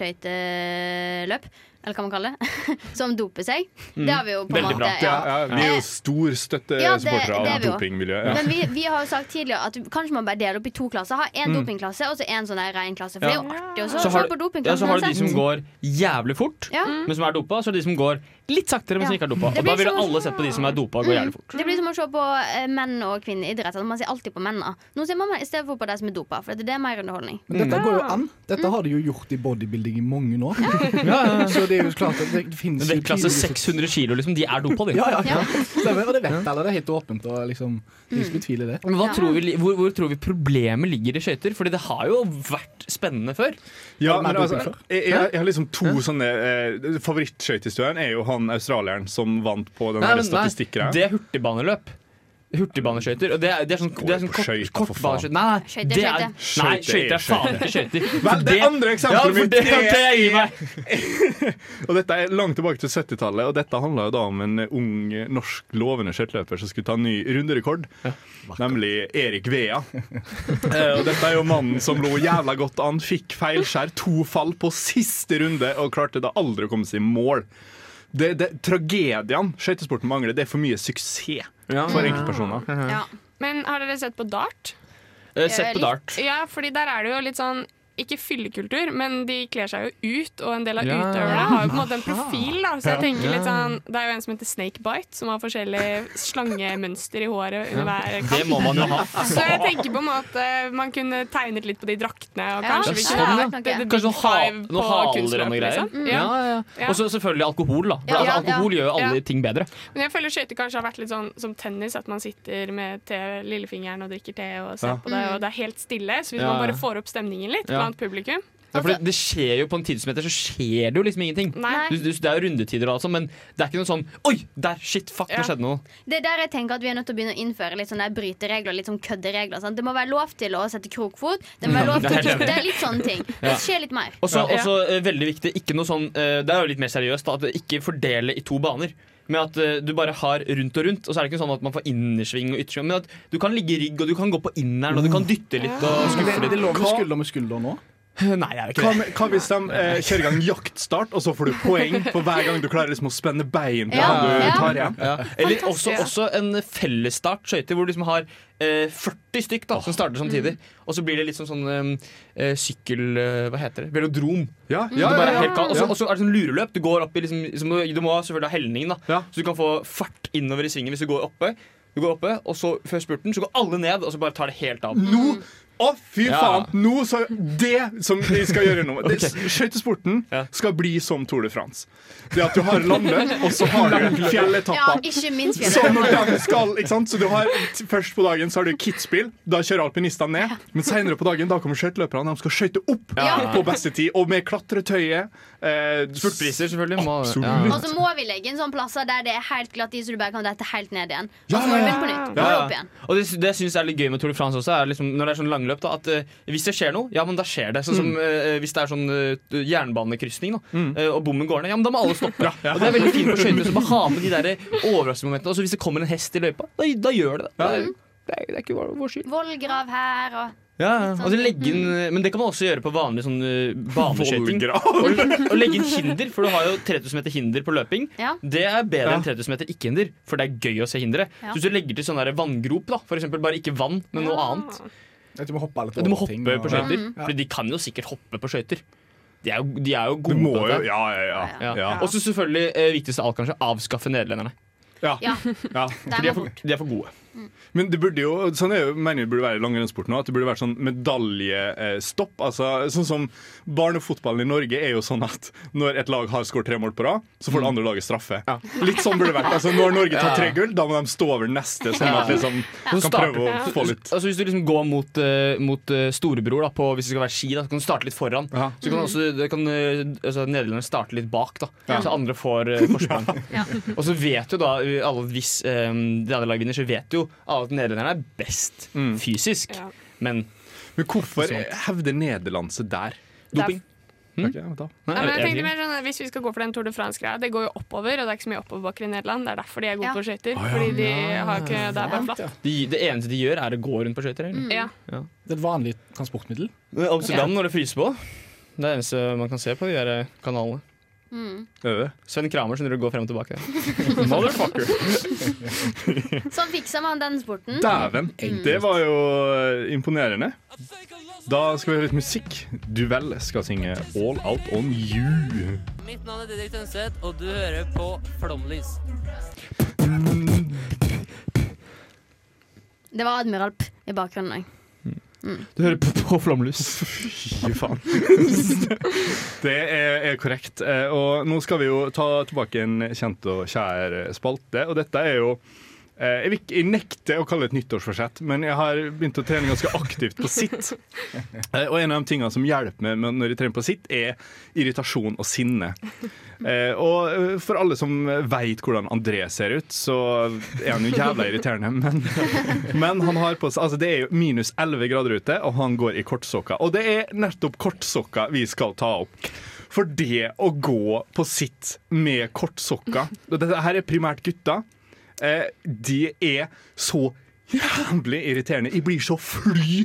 S5: skøyteløp, eller hva man kaller det, som doper seg. Det har vi jo på en
S3: Mm. Veldig
S5: måte. Eh,
S3: bra.
S1: Ja, ja, vi er jo stor
S5: Ja, det-
S1: støttesupportere
S5: det er
S1: av
S5: vi jo.
S1: dopingmiljøet. Ja.
S5: Men vi, vi har jo sagt tidligere at kanskje man bare deler opp i to klasser. Ha én dopingklasse og så én sånn der ren klasse. For det
S3: Mm. Ja.
S5: er jo artig å så
S3: Så
S5: se
S3: har,
S5: på
S3: ja, så
S5: dopingklassen
S3: har du de som
S5: uansett.
S3: går jævlig fort,
S5: Ja.
S3: men som er dopa, og så er det de som går litt saktere, men som
S5: Mm. Ja.
S3: ikke er dopa.
S5: Det
S3: Og da
S5: blir
S3: ville
S5: så-
S3: alle sett på de som er dopa og går jævlig fort.
S5: Det blir som å se på eh, menn og kvinneidrett. Man ser alltid på mennene. Nå ser man i stedet for på de som er dopa, for det er mer underholdning.
S4: Men dette går jo an. Dette har de jo gjort i bodybuilding i mange år. Så det er jo klart at det finnes
S3: Men
S4: jo
S3: Vektklasse 600
S4: tydeligvis-
S3: kilo, liksom. De er dopa, de.
S4: Ja, ja, ja. Stemmer, og det vet alle. Det er helt åpent. Og liksom, de som betviler det.
S3: Men hva
S5: Ja.
S3: tror vi, li- hvor, hvor tror vi problemet ligger i skøyter? Fordi det har jo vært spennende før.
S1: Ja,
S4: Hvem er
S1: men altså,
S4: doping for?
S1: jeg, jeg, jeg har liksom to sånne eh, Favorittskøytestøren er jo han australieren som vant på den
S3: Nei,
S1: her
S3: men nei,
S1: statistikkgreia.
S3: det er hurtigbaneløp. Hurtigbaneskøyter. Og det er, det er sånn, det er sånn kort, kortbaneskøyter. Nei, nei,
S5: Skøyter,
S3: det er,
S5: skøyter.
S3: nei,
S1: Skøyter
S3: skøyter
S1: er
S3: er faen ikke skøyter.
S1: Vel, det andre eksempelet
S3: ja, for
S1: mitt
S3: det, det er i meg.
S1: Og dette er langt tilbake til 70-tallet, og dette handla jo da om en ung eh, norsk lovende skøyteløper som skulle ta en ny runderekord, nemlig Erik Vea. Eh, og dette er jo mannen som lå jævla godt an, fikk feilskjær, to fall på siste runde, og klarte da aldri å komme seg i mål. Det, det, tragediene skøytesporten mangler, det er for mye suksess for enkeltpersoner.
S2: Ja. Men har dere sett på dart?
S1: Eh, sett på
S2: litt-
S1: dart.
S2: Ja, fordi der er det jo litt sånn ikke fyllekultur, men de kler seg jo ut, og en del av
S10: Ja.
S2: utøverne har jo på en måte en profil. Da. Så jeg
S10: Ja.
S2: tenker litt
S10: Ja.
S2: sånn Det er jo en som heter Snakebite, som har forskjellige slangemønster i håret under
S3: Ja.
S2: hver
S3: Det må man jo ha.
S2: Så jeg tenker på en måte man kunne tegnet litt på de draktene, og
S3: Ja,
S2: kanskje vi
S3: sånn,
S2: kunne
S3: ja.
S2: hatt The
S3: Kanskje
S2: Big
S3: noen, ha,
S2: Five
S3: noen
S2: på
S3: haler og noen
S2: kunstløp,
S3: greier.
S2: liksom.
S3: Ja, ja.
S2: Ja.
S3: Og så selvfølgelig alkohol, da. For
S2: Ja,
S3: altså,
S2: ja,
S3: alkohol
S2: ja.
S3: gjør jo alle
S2: Ja.
S3: ting bedre.
S2: Men jeg føler skøyter kanskje har vært litt sånn som tennis, at man sitter med te, lillefingeren og drikker te og ser
S3: Ja.
S2: på det, og det er helt stille. Så hvis
S3: Ja,
S2: man bare
S3: ja.
S2: får opp stemningen litt
S3: Ja.
S2: blant publikum
S3: Ja, for det, det skjer jo på en tid som heter, så skjer det jo liksom ingenting.
S5: Nei.
S3: Du, du, det er jo rundetider og alt sånt, men det er ikke noe sånn Oi, der! Shit, fuck, det skjedde noe.
S5: Det er der jeg tenker at vi er nødt til å begynne å innføre litt sånne der bryteregler. Litt sånn kødderegler sant? Det må være lov til å sette krokfot. Det må være
S3: Ja,
S5: lov
S3: det
S5: til
S3: er
S5: å
S3: helt enig.
S5: Det er litt sånne ting. Det
S3: Ja.
S5: skjer litt mer.
S3: Og så også, eh, veldig viktig, ikke noe sånn eh, Det er jo litt mer seriøst, da, at det ikke fordele i to baner. Med at eh, du bare har rundt og rundt, og så er det ikke sånn at man får innersving og yttersving. Men at du kan ligge i rygg, og du kan gå på inneren, og du kan dytte litt og
S4: Men det,
S3: skuffe litt.
S4: det lå med skulder med skulder nå.
S3: Nei, jeg er
S1: Hva,
S3: ikke det.
S1: med- hva hvis de eh, kjører i gang jaktstart, og så får du poeng for hver gang du klarer liksom å spenne bein på han du tar igjen?
S3: Ja. Eller
S1: Fantastisk.
S3: også, også en fellesstart skøyter, hvor du liksom har eh, 40 stykk da, som starter samtidig. Og så blir det litt sånn, sånn eh, sykkel... eh, hva heter det? Velodrom.
S1: Ja,
S3: Det
S1: ja,
S3: bare
S1: ja,
S3: er
S1: ja.
S3: helt kaldt. Og så-
S1: Ja.
S3: Og så er det sånn lureløp. Du går opp i liksom, liksom, du må selvfølgelig ha helning, da. så du kan få fart innover i svingen hvis du går oppe. Du går oppe, og så før spurten så går alle ned, og så bare tar det helt av.
S1: Nå Å, fy
S3: Ja.
S1: faen! Nå så Det som vi skal gjøre nå det- Skøytesporten skal bli som Tour de France. Det at du har landet, og så har du
S5: Ja,
S1: fjelletappa.
S5: ikke minst
S1: Så når de
S5: fjellet.
S1: skal, ikke sant? Så du har, t- først på dagen så har du kitspill, da kjører alpinistene ned. Men seinere på dagen da kommer skøyteløperne. De skal skøyte opp
S5: Ja.
S1: på beste tid, og med klatretøyet. Eh,
S3: Spurtpriser, selvfølgelig. Må,
S5: Og så må vi legge inn sånne plasser der det er helt glatt is, så du bare kan dette helt ned igjen. Og
S3: Ja,
S5: så må
S3: ja, ja.
S5: du begynne på nytt.
S3: Ja,
S5: Går
S3: ja.
S5: opp igjen.
S3: Og det, det jeg synes er litt gøy med Tour de France også, er liksom, når det er sånn langløp, da, at eh, hvis det skjer noe, ja, men da skjer det. Sånn som eh, hvis det er sånn eh, jernbanekrysning, da, eh, og bommen går ned, ja, men da må alle stoppe. Og det er veldig fint på skøyter å ha med de der eh, overraskelsesmomentene. Og så hvis det kommer en hest i løypa, da, da gjør det det. Det er- Det er, det er ikke vår, vår skyld.
S5: Vollgrav her og
S3: Ja, og så legge inn, eh, men det kan man også gjøre på vanlig sånn eh, baneskøyting.
S1: Vollgrav.
S3: Og legge inn hinder, for du har jo 3000 meter hinder på løping.
S5: Ja.
S3: Det er bedre
S1: Ja.
S3: enn 3000 meter ikke-hinder, for det er gøy å se hinderet.
S5: Ja.
S3: Så hvis du legger til sånn der vanngrop, da, for eksempel bare ikke vann, men
S1: Ah.
S3: noe annet.
S4: At Du må hoppe litt
S3: Du må
S4: over ting,
S3: hoppe
S4: og-
S3: på skøyter.
S5: Mhm.
S4: Ja.
S3: For de kan jo sikkert hoppe på skøyter. De er jo, de er jo gode
S1: Du må
S3: på dette.
S1: jo- ja, ja, ja. Ja.
S3: Og så selvfølgelig, eh, viktigst av alt kanskje, avskaffe nederlenderne.
S1: Ja.
S5: Ja.
S3: For de er for, de er for gode.
S1: Men det burde jo, sånn er jo, mener jeg det burde være i langrennssport nå, at det burde vært sånn medaljestopp. Altså, sånn som Barnefotballen i Norge er jo sånn at når et lag har skåret tre mål på rad, så får det andre laget straffe. Litt sånn burde det vært. Altså, når Norge tar tre gull, da må de stå over neste, sånn at liksom,
S3: Så
S1: kan
S3: starter-
S1: prøve å få litt
S3: Altså Hvis du liksom går mot, eh, mot eh, storebror da, på, Hvis det skal være ski, da, så kan du starte litt foran. Så kan,
S1: Mhm.
S3: også, det kan eh, altså, nederlenderne starte litt bak, da
S1: Ja.
S3: så andre får eh, forsprang. Og så vet jo da eh, alle at hvis eh, det andre laget vinner, så vet jo alle at nederlenderne er best fysisk. Men
S1: Men hvorfor hevder Nederland seg der?
S3: Doping.
S1: Mm? Ok, vent da.
S2: Nei, men jeg tenkte mer sånn, at Hvis vi skal gå for den Tour de France-greia, det går jo oppover, og det er ikke så mye oppoverbakker i Nederland. Det er derfor de er gode på skøyter. Fordi de har ikke Det er bare flatt.
S3: De, det eneste de gjør, er å gå rundt på skøyter. egentlig.
S2: Ja.
S3: Ja.
S4: Det er et vanlig transportmiddel.
S3: Men Amsterdam når det fryser på. Det er det eneste man kan se på de der eh, kanalene. Sven Kramer som driver og går frem og tilbake. Motherfucker!
S5: Sånn fikser man den sporten.
S1: Dæven! Mm. Det var jo eh, imponerende. Da skal vi høre litt musikk. Duell skal synge All Out On You.
S11: Mitt navn er Didrik Tønseth, og du hører på Flomlys.
S5: Det var Admiral P i bakgrunnen òg.
S3: Du hører på, på flomlys.
S1: Fy faen. Det er, er korrekt. Eh, Og nå skal vi jo ta tilbake en kjent og kjær spalte, og dette er jo Eh, Jeg, vil, ikke- jeg nekter å kalle det et nyttårsforsett, men jeg har begynt å trene ganske aktivt på sitt. Eh, Og en av de tingene som hjelper meg med når jeg trener på sitt, er irritasjon og sinne. Eh, og eh, for alle som veit hvordan André ser ut, så er han jo jævla irriterende. Men, men han har på seg Altså, det er jo minus 11 grader ute, og han går i kortsokker. Og det er nettopp kortsokker vi skal ta opp. For det å gå på sitt med kortsokker og Dette her er primært gutta. Eh, de er så jævlig irriterende. Jeg blir så fly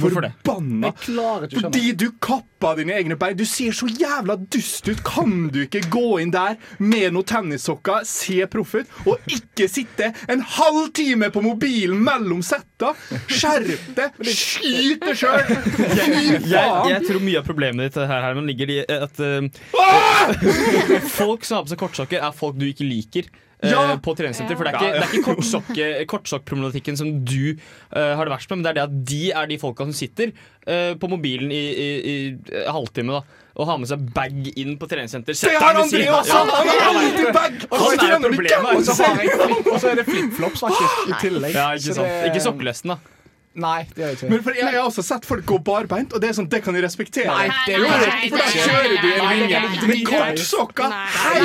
S3: Hvorfor det?
S1: forbanna.
S7: Jeg klarer ikke å skjønne.
S1: Fordi du kappa dine egne bein. Du ser så jævla dust ut. Kan du ikke gå inn der med noen tennissokker, se proff ut, og ikke sitte en halv time på mobilen mellom setta? Skjerp deg! Skyt deg sjøl! Fy
S3: Jeg, jeg
S1: faen!
S3: tror mye av problemet ditt eh, her, Herman, ligger i at eh, folk som har på seg kortsokker, er folk du ikke liker. eh,
S1: Ja!
S3: På treningssenter. For det
S1: Ja,
S3: er ikke,
S1: ja.
S3: det er ikke kortsokke- kortsokkproblematikken som du eh, har det verst med, men det er det at de er de folka som sitter eh, på mobilen i, i, i eh, halvtime da og har med seg bag inn på treningssenter.
S1: Det har André også! Han har alltid bag! Han
S3: Han er
S1: trener
S3: problemet.
S1: gammel
S3: og så har jeg flipp-
S1: selv!
S3: og så er det
S7: flipflops, faktisk, i tillegg.
S3: Ja, ikke
S7: Så
S3: sant.
S7: det-
S3: Ikke sokkelesten, da.
S7: Nei, det er
S1: Men for jeg, jeg har også sett folk gå barbeint, og det er sånn, det kan jeg respektere.
S7: Nei, det er jo
S1: For da-
S7: ikke-
S1: For da kjører du
S7: Nei,
S1: en
S7: det
S1: linje
S7: er ikke-
S1: med kortsokker!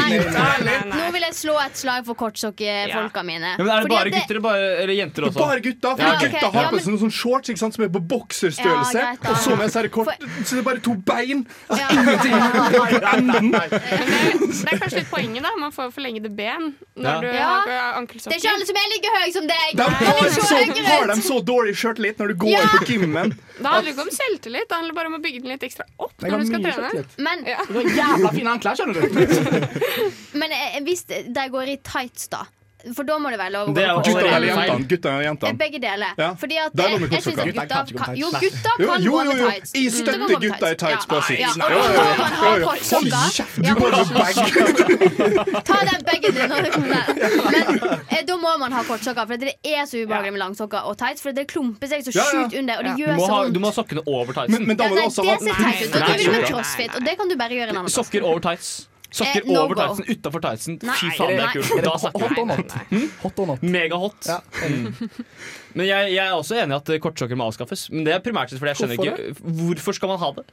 S1: Helt ærlig!
S5: Nå vil jeg slå et slag for kortsokkefolka mine.
S3: Ja, men er det
S5: Fordi at
S3: bare gutter bare, eller jenter også?
S1: Bare gutta. For
S5: Ja, ok.
S1: gutta har
S5: Ja,
S1: på
S5: men-
S1: seg noen sånne shorts ikke sant, som er på bokserstørrelse.
S5: Ja, greit, da.
S1: og så med seg kort, så det er bare to bein.
S5: Ja.
S1: Ingenting.
S2: Det er kanskje litt poenget, da. Man får forlengede ben
S1: Ja.
S2: når du
S5: Ja.
S2: har
S5: Det er
S2: ankelsokker.
S5: ikke alle som er like høy som deg.
S1: De
S5: Kan
S1: har,
S5: du se
S1: så,
S5: høyere
S1: har
S5: ut?
S1: de så dårlig skjørtlit når du går
S5: Ja.
S1: på gymmen?
S2: Det handler ikke om selvtillit, det handler bare om å bygge den litt ekstra opp
S1: Jeg
S2: når
S1: har
S2: du skal
S1: mye
S2: trene.
S1: selvtillit.
S5: Men,
S7: Jævla fine ankler, skjønner du.
S5: men eh, hvis de går i tights, da. For da må det være lov å
S1: Gutta
S5: gå med kortsokker.
S1: eller jentene? Gutta eller jentene?
S5: Begge deler.
S1: Ja.
S5: Fordi at
S1: Der går
S5: jeg,
S1: med
S5: jeg synes at
S1: kortsokker.
S5: gutta
S1: Gutter kan
S5: kan,
S1: ikke
S5: jo,
S1: gå med tights.
S5: gutta
S1: Nei.
S5: kan
S1: Jo, jo,
S5: gå med
S1: jo.
S5: tights.
S1: Jeg
S5: Mm.
S1: støtter
S5: Gutta kan gå med
S1: gutta i tights på sitt.
S5: Ja, ja.
S1: Nei.
S5: Og
S1: Jo, jo,
S5: gutta
S1: jo.
S5: kan ha
S1: Jo, jo. Hold
S5: kortsokker.
S1: kjeft, du
S5: Ja,
S1: går med
S5: Ta den begge dine når du kommer der. Men eh, da må man ha kortsokker, for det er så ubehagelig med langsokker og tights. For det klumper seg så
S3: Ja, ja.
S5: sjukt under, og det
S3: Du
S5: gjør
S3: må,
S5: så
S3: ha, du
S5: vondt.
S3: må ha sokkene over tightsen.
S1: Men- men da må
S5: Ja,
S1: du
S5: nei,
S1: også
S5: det
S1: ha-
S5: ser teit ut. Og
S3: Nei,
S5: du vil med
S3: nei,
S5: crossfit, og det kan du bare gjøre en annen plass.
S3: Sokker over tights. Sokker
S5: Eh, no
S3: over
S5: go.
S3: tightsen utafor tightsen.
S5: Nei.
S3: Fy faen, det
S5: Nei.
S3: er kult. Da snakker
S7: Hot
S3: vi.
S7: or not? Hot or not?
S3: Megahot. Mm. Men jeg, jeg er også enig i at eh, kortsokker må avskaffes. Men det er primært sett fordi jeg skjønner
S5: Hvorfor
S3: ikke Hvorfor skal man ha det?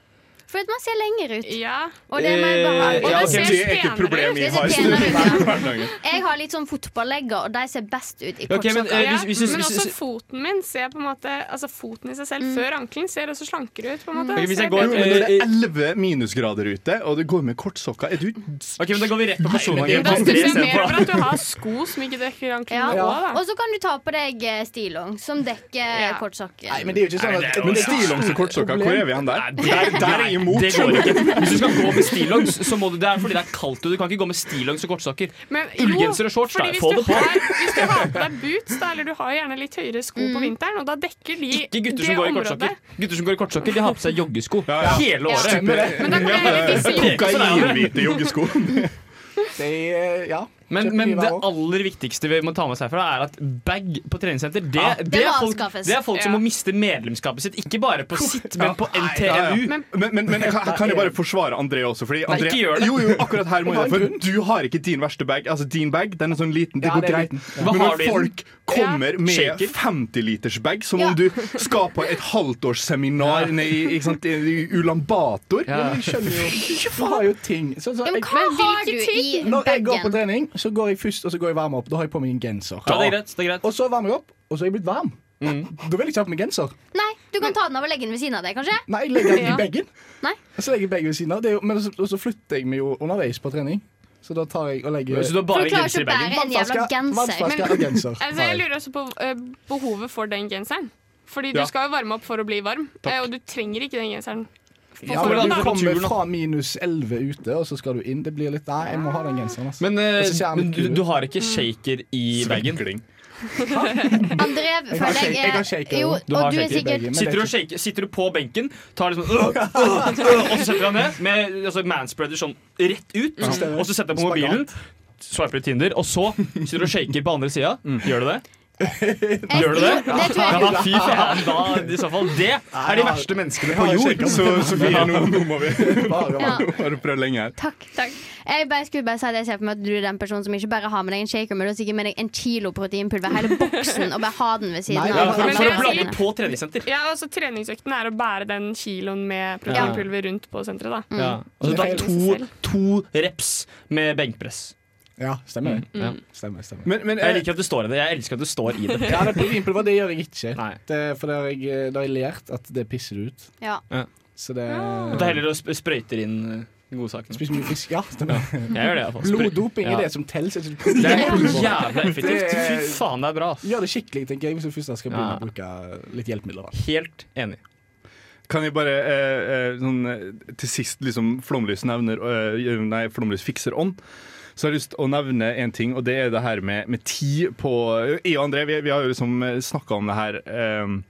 S5: For at man ser lenger ut. Og det er mer behagelig.
S3: Eh, ja, ok.
S1: Det er ikke et problem jeg har. i hverdagen.
S5: Jeg har litt sånn fotballegger, og de ser best ut i
S1: Ok, men,
S5: kortsokker.
S1: eh, hvis- hvis- hvis-
S2: Men
S1: hvis-
S2: også foten min ser på en måte Altså foten i seg selv
S5: Mm.
S2: før ankelen ser også slankere ut. på en måte
S1: Ok, hvis jeg
S2: Ser
S1: går,
S2: bedre ut.
S1: når det er 11 minusgrader ute, og du går med kortsokker Er du
S3: Ok, men Da går vi rett på
S2: Men da stusser jeg mer over at du har sko som ikke dekker
S5: Ja.
S2: anklene òg, da.
S5: Og så kan du ta på deg eh, stillong, som dekker eh, kortsokker.
S7: Nei, men det er jo ikke sånn at
S1: Men stillongs og kortsokker, hvor er vi hen der? Der, der er jeg imot.
S3: Det går ikke. Hvis du skal gå med stillongs, så må du Det er fordi det er kaldt ute. Du kan ikke gå med stillongs og kortsokker.
S2: Men jo,
S3: Ullgenser og shorts,
S2: fordi
S3: da.
S2: hvis
S3: Få
S2: du
S3: det på.
S2: har- Hvis du har på deg boots, da, eller du har gjerne litt høyere sko
S5: Mm.
S2: på vinteren, og da dekker de
S3: Ikke gutter
S2: det
S3: som går i
S2: området.
S3: kortsokker. Gutter som går i kortsokker, de har på seg joggesko
S1: ja.
S3: hele
S1: Ja.
S3: året.
S1: Stemmer det. Men da kan jeg heller disse joggene.
S3: Sånn
S1: Kokainhvite joggesko.
S7: Det er, ja.
S3: Men, men det aller viktigste vi må ta med oss herfra, er at bag på treningssenter Det,
S7: Ja.
S3: det,
S7: Det må
S3: er folk,
S7: avskaffes.
S3: det er folk som
S7: Ja.
S3: må miste medlemskapet sitt. Ikke bare på sitt, men på
S1: Nei, ja, ja.
S3: NTNU.
S1: Men, men, men jeg kan, jeg kan jo bare forsvare André også. Fordi
S3: Nei,
S1: André,
S3: ikke gjør det.
S1: Jo, jo, akkurat her må
S3: Jeg har
S1: jeg,
S3: en
S1: for Du har ikke din verste bag. Altså Din bag den er sånn liten, det
S3: Ja,
S1: går
S3: det er
S1: greit.
S3: liten. Ja. Hva
S1: Men
S3: har du
S1: når
S3: i den?
S1: folk kommer
S3: Ja.
S1: med
S3: Shaker.
S1: 50-liters bag, som om du skal på et halvtårsseminar nede i, ikke sant, i Ulan Bator
S7: Ja, men jeg skjønner jo Du har jo ting. Sånn som
S5: Ja, men
S7: jeg-
S5: hva Men har hvilke du i ting?
S7: Når jeg går på
S5: bagen?
S7: trening, så går jeg først og så går jeg varme opp. Da har jeg på meg en genser.
S3: Ja, det er greit,
S7: Og så varmer jeg opp, og så er jeg blitt varm.
S1: Mm.
S7: Da vil jeg ikke ha på meg genser.
S5: Nei, du kan ta den av og legge den ved siden av deg, kanskje?
S7: Nei, Jeg legger den
S5: Ja.
S7: i bagen. Og så legger jeg bagen ved siden av. Det er jo, men så, og så flytter jeg meg jo underveis på trening. Så da tar jeg og legger
S3: Så du har bare For du klarer genser i ikke å bagen?
S5: bære en jævla genser.
S7: Vannflaske
S2: Men-
S7: og genser.
S2: Altså, jeg lurer også på eh, behovet for den genseren. Fordi du
S7: Ja.
S2: skal jo varme opp for å bli varm,
S7: Takk.
S2: eh, og du trenger ikke den genseren. på
S7: Ja,
S2: forhånd,
S7: men
S2: da.
S7: du kommer fra minus 11 ute, og så skal du inn. Det blir litt Nei, jeg må ha den genseren. Altså.
S3: Men, eh,
S7: Og så ser han
S3: men du,
S7: kul ut.
S3: du har ikke shaker i bagen.
S5: André,
S7: Jeg har
S5: føler
S7: shake-
S5: jeg
S7: jeg har
S5: er
S7: shake
S5: eh, Jo,
S7: også.
S5: og du er
S3: i bagen,
S5: sikkert
S3: men sitter, du og shaker, sitter du på benken, tar liksom øh, øh, øh, Og så setter du deg ned med altså, manspreader sånn rett ut. Mm. Og så setter du på mobilen, swiper litt Tinder, og så sitter du og shaker på andre sida. Gjør du det?
S5: Eh,
S3: Gjør du det?
S1: Ja, det tror jeg.
S3: Ja, da, fy faen, da, i så fall, det er de verste menneskene på jord.
S1: Så Sofie, nå, nå må vi
S5: Ja.
S1: Nå har du prøvd lenge her.
S5: Takk. takk Jeg bare skulle bare si at jeg ser for meg at du er den personen som ikke bare har med deg en shaker, men du har sikkert med deg en kilo proteinpulver, hele boksen, og bare har den ved siden
S3: Ja,
S5: av.
S3: for,
S5: Men
S3: for å
S5: det-
S3: blande på treningssenter.
S2: Ja, altså Treningsøkten er å bære den kiloen med proteinpulver rundt på senteret. da
S3: Ja. Og så ta to, to reps med benkpress.
S4: Ja, stemmer det.
S3: Mm. Ja.
S4: Stemmer, stemmer.
S3: Men,
S1: eh,
S3: jeg liker at du står i det. Jeg elsker at du står i det.
S4: Ja, det er proteinpulver, det gjør jeg ikke. Det, er- for det har jeg, det har jeg lært at det pisser du ut.
S5: Ja.
S3: Ja.
S4: Så det
S3: At det heller å sp- sprøyter inn eh, godsakene.
S4: Spiser mye fisk, ja. Stemmer.
S3: Jeg gjør det, iallfall.
S4: Bloddoping er
S3: Ja.
S4: det som telles. ikke
S3: Det er
S4: proteinpulver.
S3: jævla effektivt.
S4: Det er-
S3: Fy faen, det er bra. ass.
S4: Gjør det skikkelig, tenker jeg, hvis du først skal begynne
S3: Ja.
S4: å bruke litt hjelpemidler. da
S3: Helt enig.
S1: Kan jeg bare eh, eh, sånn, eh, til sist liksom, Flomlys nevner eh, Nei, Flomlys fikser ånd. Så har jeg lyst til å nevne en ting, og det er det her med, med tid på eh, Jeg og André vi, vi har jo liksom snakka om det her. Eh,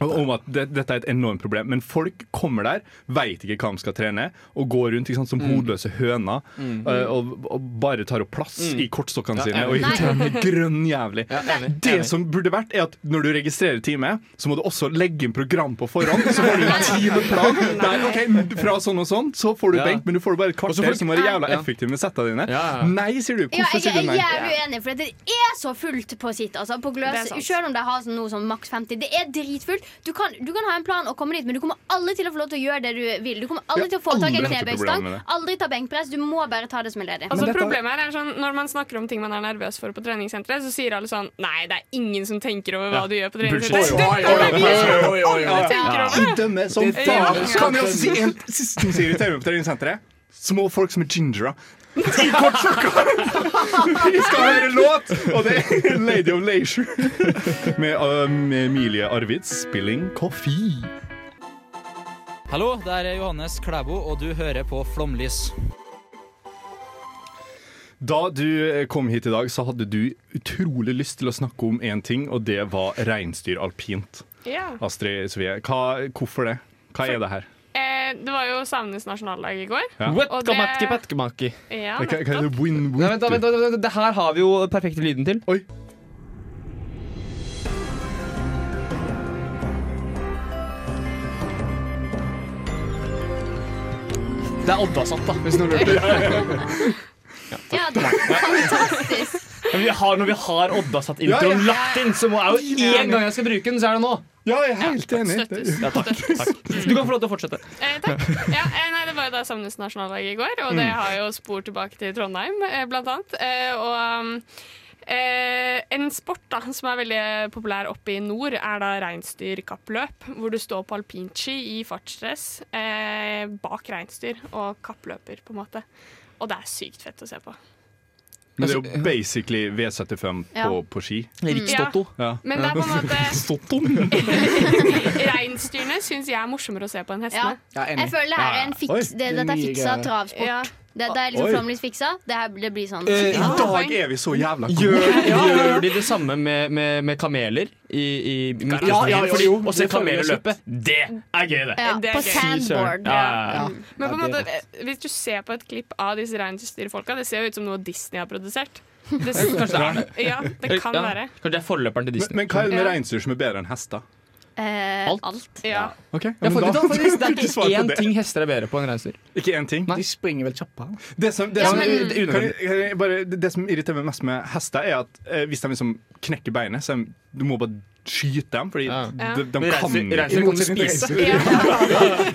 S1: Om at det, dette er et enormt problem. Men folk kommer der, veit ikke hva de skal trene, og går rundt ikke sant, som hodeløse høner
S3: Mm.
S1: eh, og, og bare tar opp plass
S3: Mm.
S1: i kortstokkene
S3: Ja,
S1: sine
S3: enig.
S1: og
S3: Nei.
S1: irriterer meg grønn jævlig.
S3: enig,
S1: det
S3: enig.
S1: som burde vært, er at når du registrerer time, så må du også legge inn program på forhånd. Så får du en timeplan. Der, ok, fra sånn og sånn, så får du
S3: Ja.
S1: benk, men du får bare et
S3: så får
S1: kvarter
S3: du-
S1: som er jævla
S3: Ja.
S1: effektivt med setta dine.
S3: Ja.
S1: Nei, sier du.
S5: Ja,
S1: Hvorfor
S5: jeg, jeg,
S1: sier du nei?
S5: er uenig, for det er så fullt på sitt. Altså, på
S2: Det er
S5: gløs,
S2: sant.
S5: selv om de har sånn, noe sånn maks 50. Det er dritfullt. Du kan, du kan ha en plan og komme dit, men du kommer aldri til å få lov til å gjøre det du vil. Du kommer aldri
S1: Ja,
S5: til å få tak i
S1: aldri
S5: en
S1: hatt et problem
S5: knebøystang.
S1: med det.
S5: Aldri ta benkpress. Du må bare ta det som er ledig.
S2: Altså Problemet her er sånn Når man snakker om ting man er nervøs for på treningssenteret, så sier alle sånn Nei, det er ingen som tenker over hva
S3: Ja.
S2: du gjør på
S3: Bullshit.
S2: treningssenteret.
S3: Oi,
S2: Dette
S3: oi,
S2: er vi
S3: oi,
S2: som
S3: oi, oi, oi.
S2: alle tenker
S3: Ja.
S2: over.
S1: De dømmer som
S2: Det er
S1: faen.
S2: jævlig
S1: Kan jeg
S2: sant.
S1: si en siste ting som irriterer meg på treningssenteret? Små folk som er gingere. I kortsokker! Vi skal høre låt, og det er 'Lady of Leisure' med um, Emilie Arvids spilling 'Coffee'.
S11: Hallo, det er Johannes Klæbo, og du hører på Flomlys.
S1: Da du eh, kom hit i dag, så hadde du utrolig lyst til å snakke om én ting, og det var reinsdyr alpint.
S2: Ja.
S1: Astrid Svee, hva, hvorfor det? Hva er det her?
S2: Eh, det var jo samenes nasjonaldag i går.
S1: Ja.
S2: Og det- Ja,
S1: Hva- hva er
S2: nettopp.
S1: det? Win,
S3: Nei, vent, da, vent, da, vent, da, det her har vi jo perfekte lyden til.
S1: Oi.
S3: Det er Odda-satt, da, hvis noen lurte.
S5: Ja, det er fantastisk.
S3: Men vi har, når vi har
S1: Ja,
S3: Odda-satt-introen
S1: ja.
S3: lagt inn, så må jeg jo én gang jeg skal bruke den, så er det nå.
S1: Ja, jeg er helt enig.
S3: Ja, takk, takk. Du kan få lov til å fortsette.
S2: Eh, takk. Ja, eh, nei, det var jo da samenes nasjonaldag i går, og det
S3: Mm.
S2: har jo spor tilbake til Trondheim, eh, blant annet. Eh, og um, eh, en sport da, som er veldig populær oppe i nord, er da reinsdyrkappløp, hvor du står på alpinski i fartsdress eh, bak reinsdyr og kappløper, på en måte. Og det er sykt fett å se på.
S1: Men det er
S3: Altså,
S1: jo basically V75
S2: Ja.
S1: på, på ski.
S2: Rikstoto.
S1: Ja.
S2: Men det er på en måte-
S1: Stotto?
S2: Reinsdyrene syns jeg er morsommere å se på enn hestene.
S5: Ja. Jeg føler det her er en fiks, det, dette er fiksa travsport.
S2: Ja.
S5: Det, det er liksom
S3: Oi.
S5: Flåmlys fiksa. Det, her, det blir sånn.
S3: Eh, i
S5: Ja.
S3: dag
S1: er vi så jævla
S3: Gjør, gjør de det samme med, med, med kameler i, i Midtøsten?
S4: Ja, ja, jo,
S3: Fordi
S4: jo,
S3: Å se
S4: det føler jeg
S3: kameler
S4: også.
S3: løpe, det er gøy, det.
S2: Ja, Det er på gøy. sandboard. Mm.
S3: Ja, ja, ja.
S2: Men på en
S3: Ja, det er
S2: måte, eh, hvis du ser på et klipp av disse reinsdyrfolka, det ser jo ut som noe Disney har produsert. Det,
S3: Ja, kanskje det er det.
S2: Ja, det kan
S3: Ja.
S2: være.
S3: Kanskje det er forløperen til Disney.
S1: Men hva er det med
S2: Ja.
S1: reinsdyr som er bedre enn hester?
S5: Eh, alt.
S2: Ja.
S1: Ok, ja,
S3: Ja,
S1: men
S3: for,
S1: da-
S3: da, faktisk, det
S1: kunne
S3: er
S1: du svare
S3: ikke
S1: på
S3: én
S1: det.
S3: ting hester er bedre på enn reinsdyr.
S1: Ikke én ting?
S4: De springer vel kjappere?
S1: Det som, det,
S3: Ja,
S1: som,
S3: men-
S1: det, er unødvendig. kan jeg, kan jeg bare, det, det som irriterer meg mest med hester, er at eh, hvis de liksom knekker beinet, så er de, du må bare skyte dem, fordi
S3: Ja.
S1: de, de
S3: Men
S1: kan
S3: reinsdyr- reinsdyr kan du spise.
S1: Ja.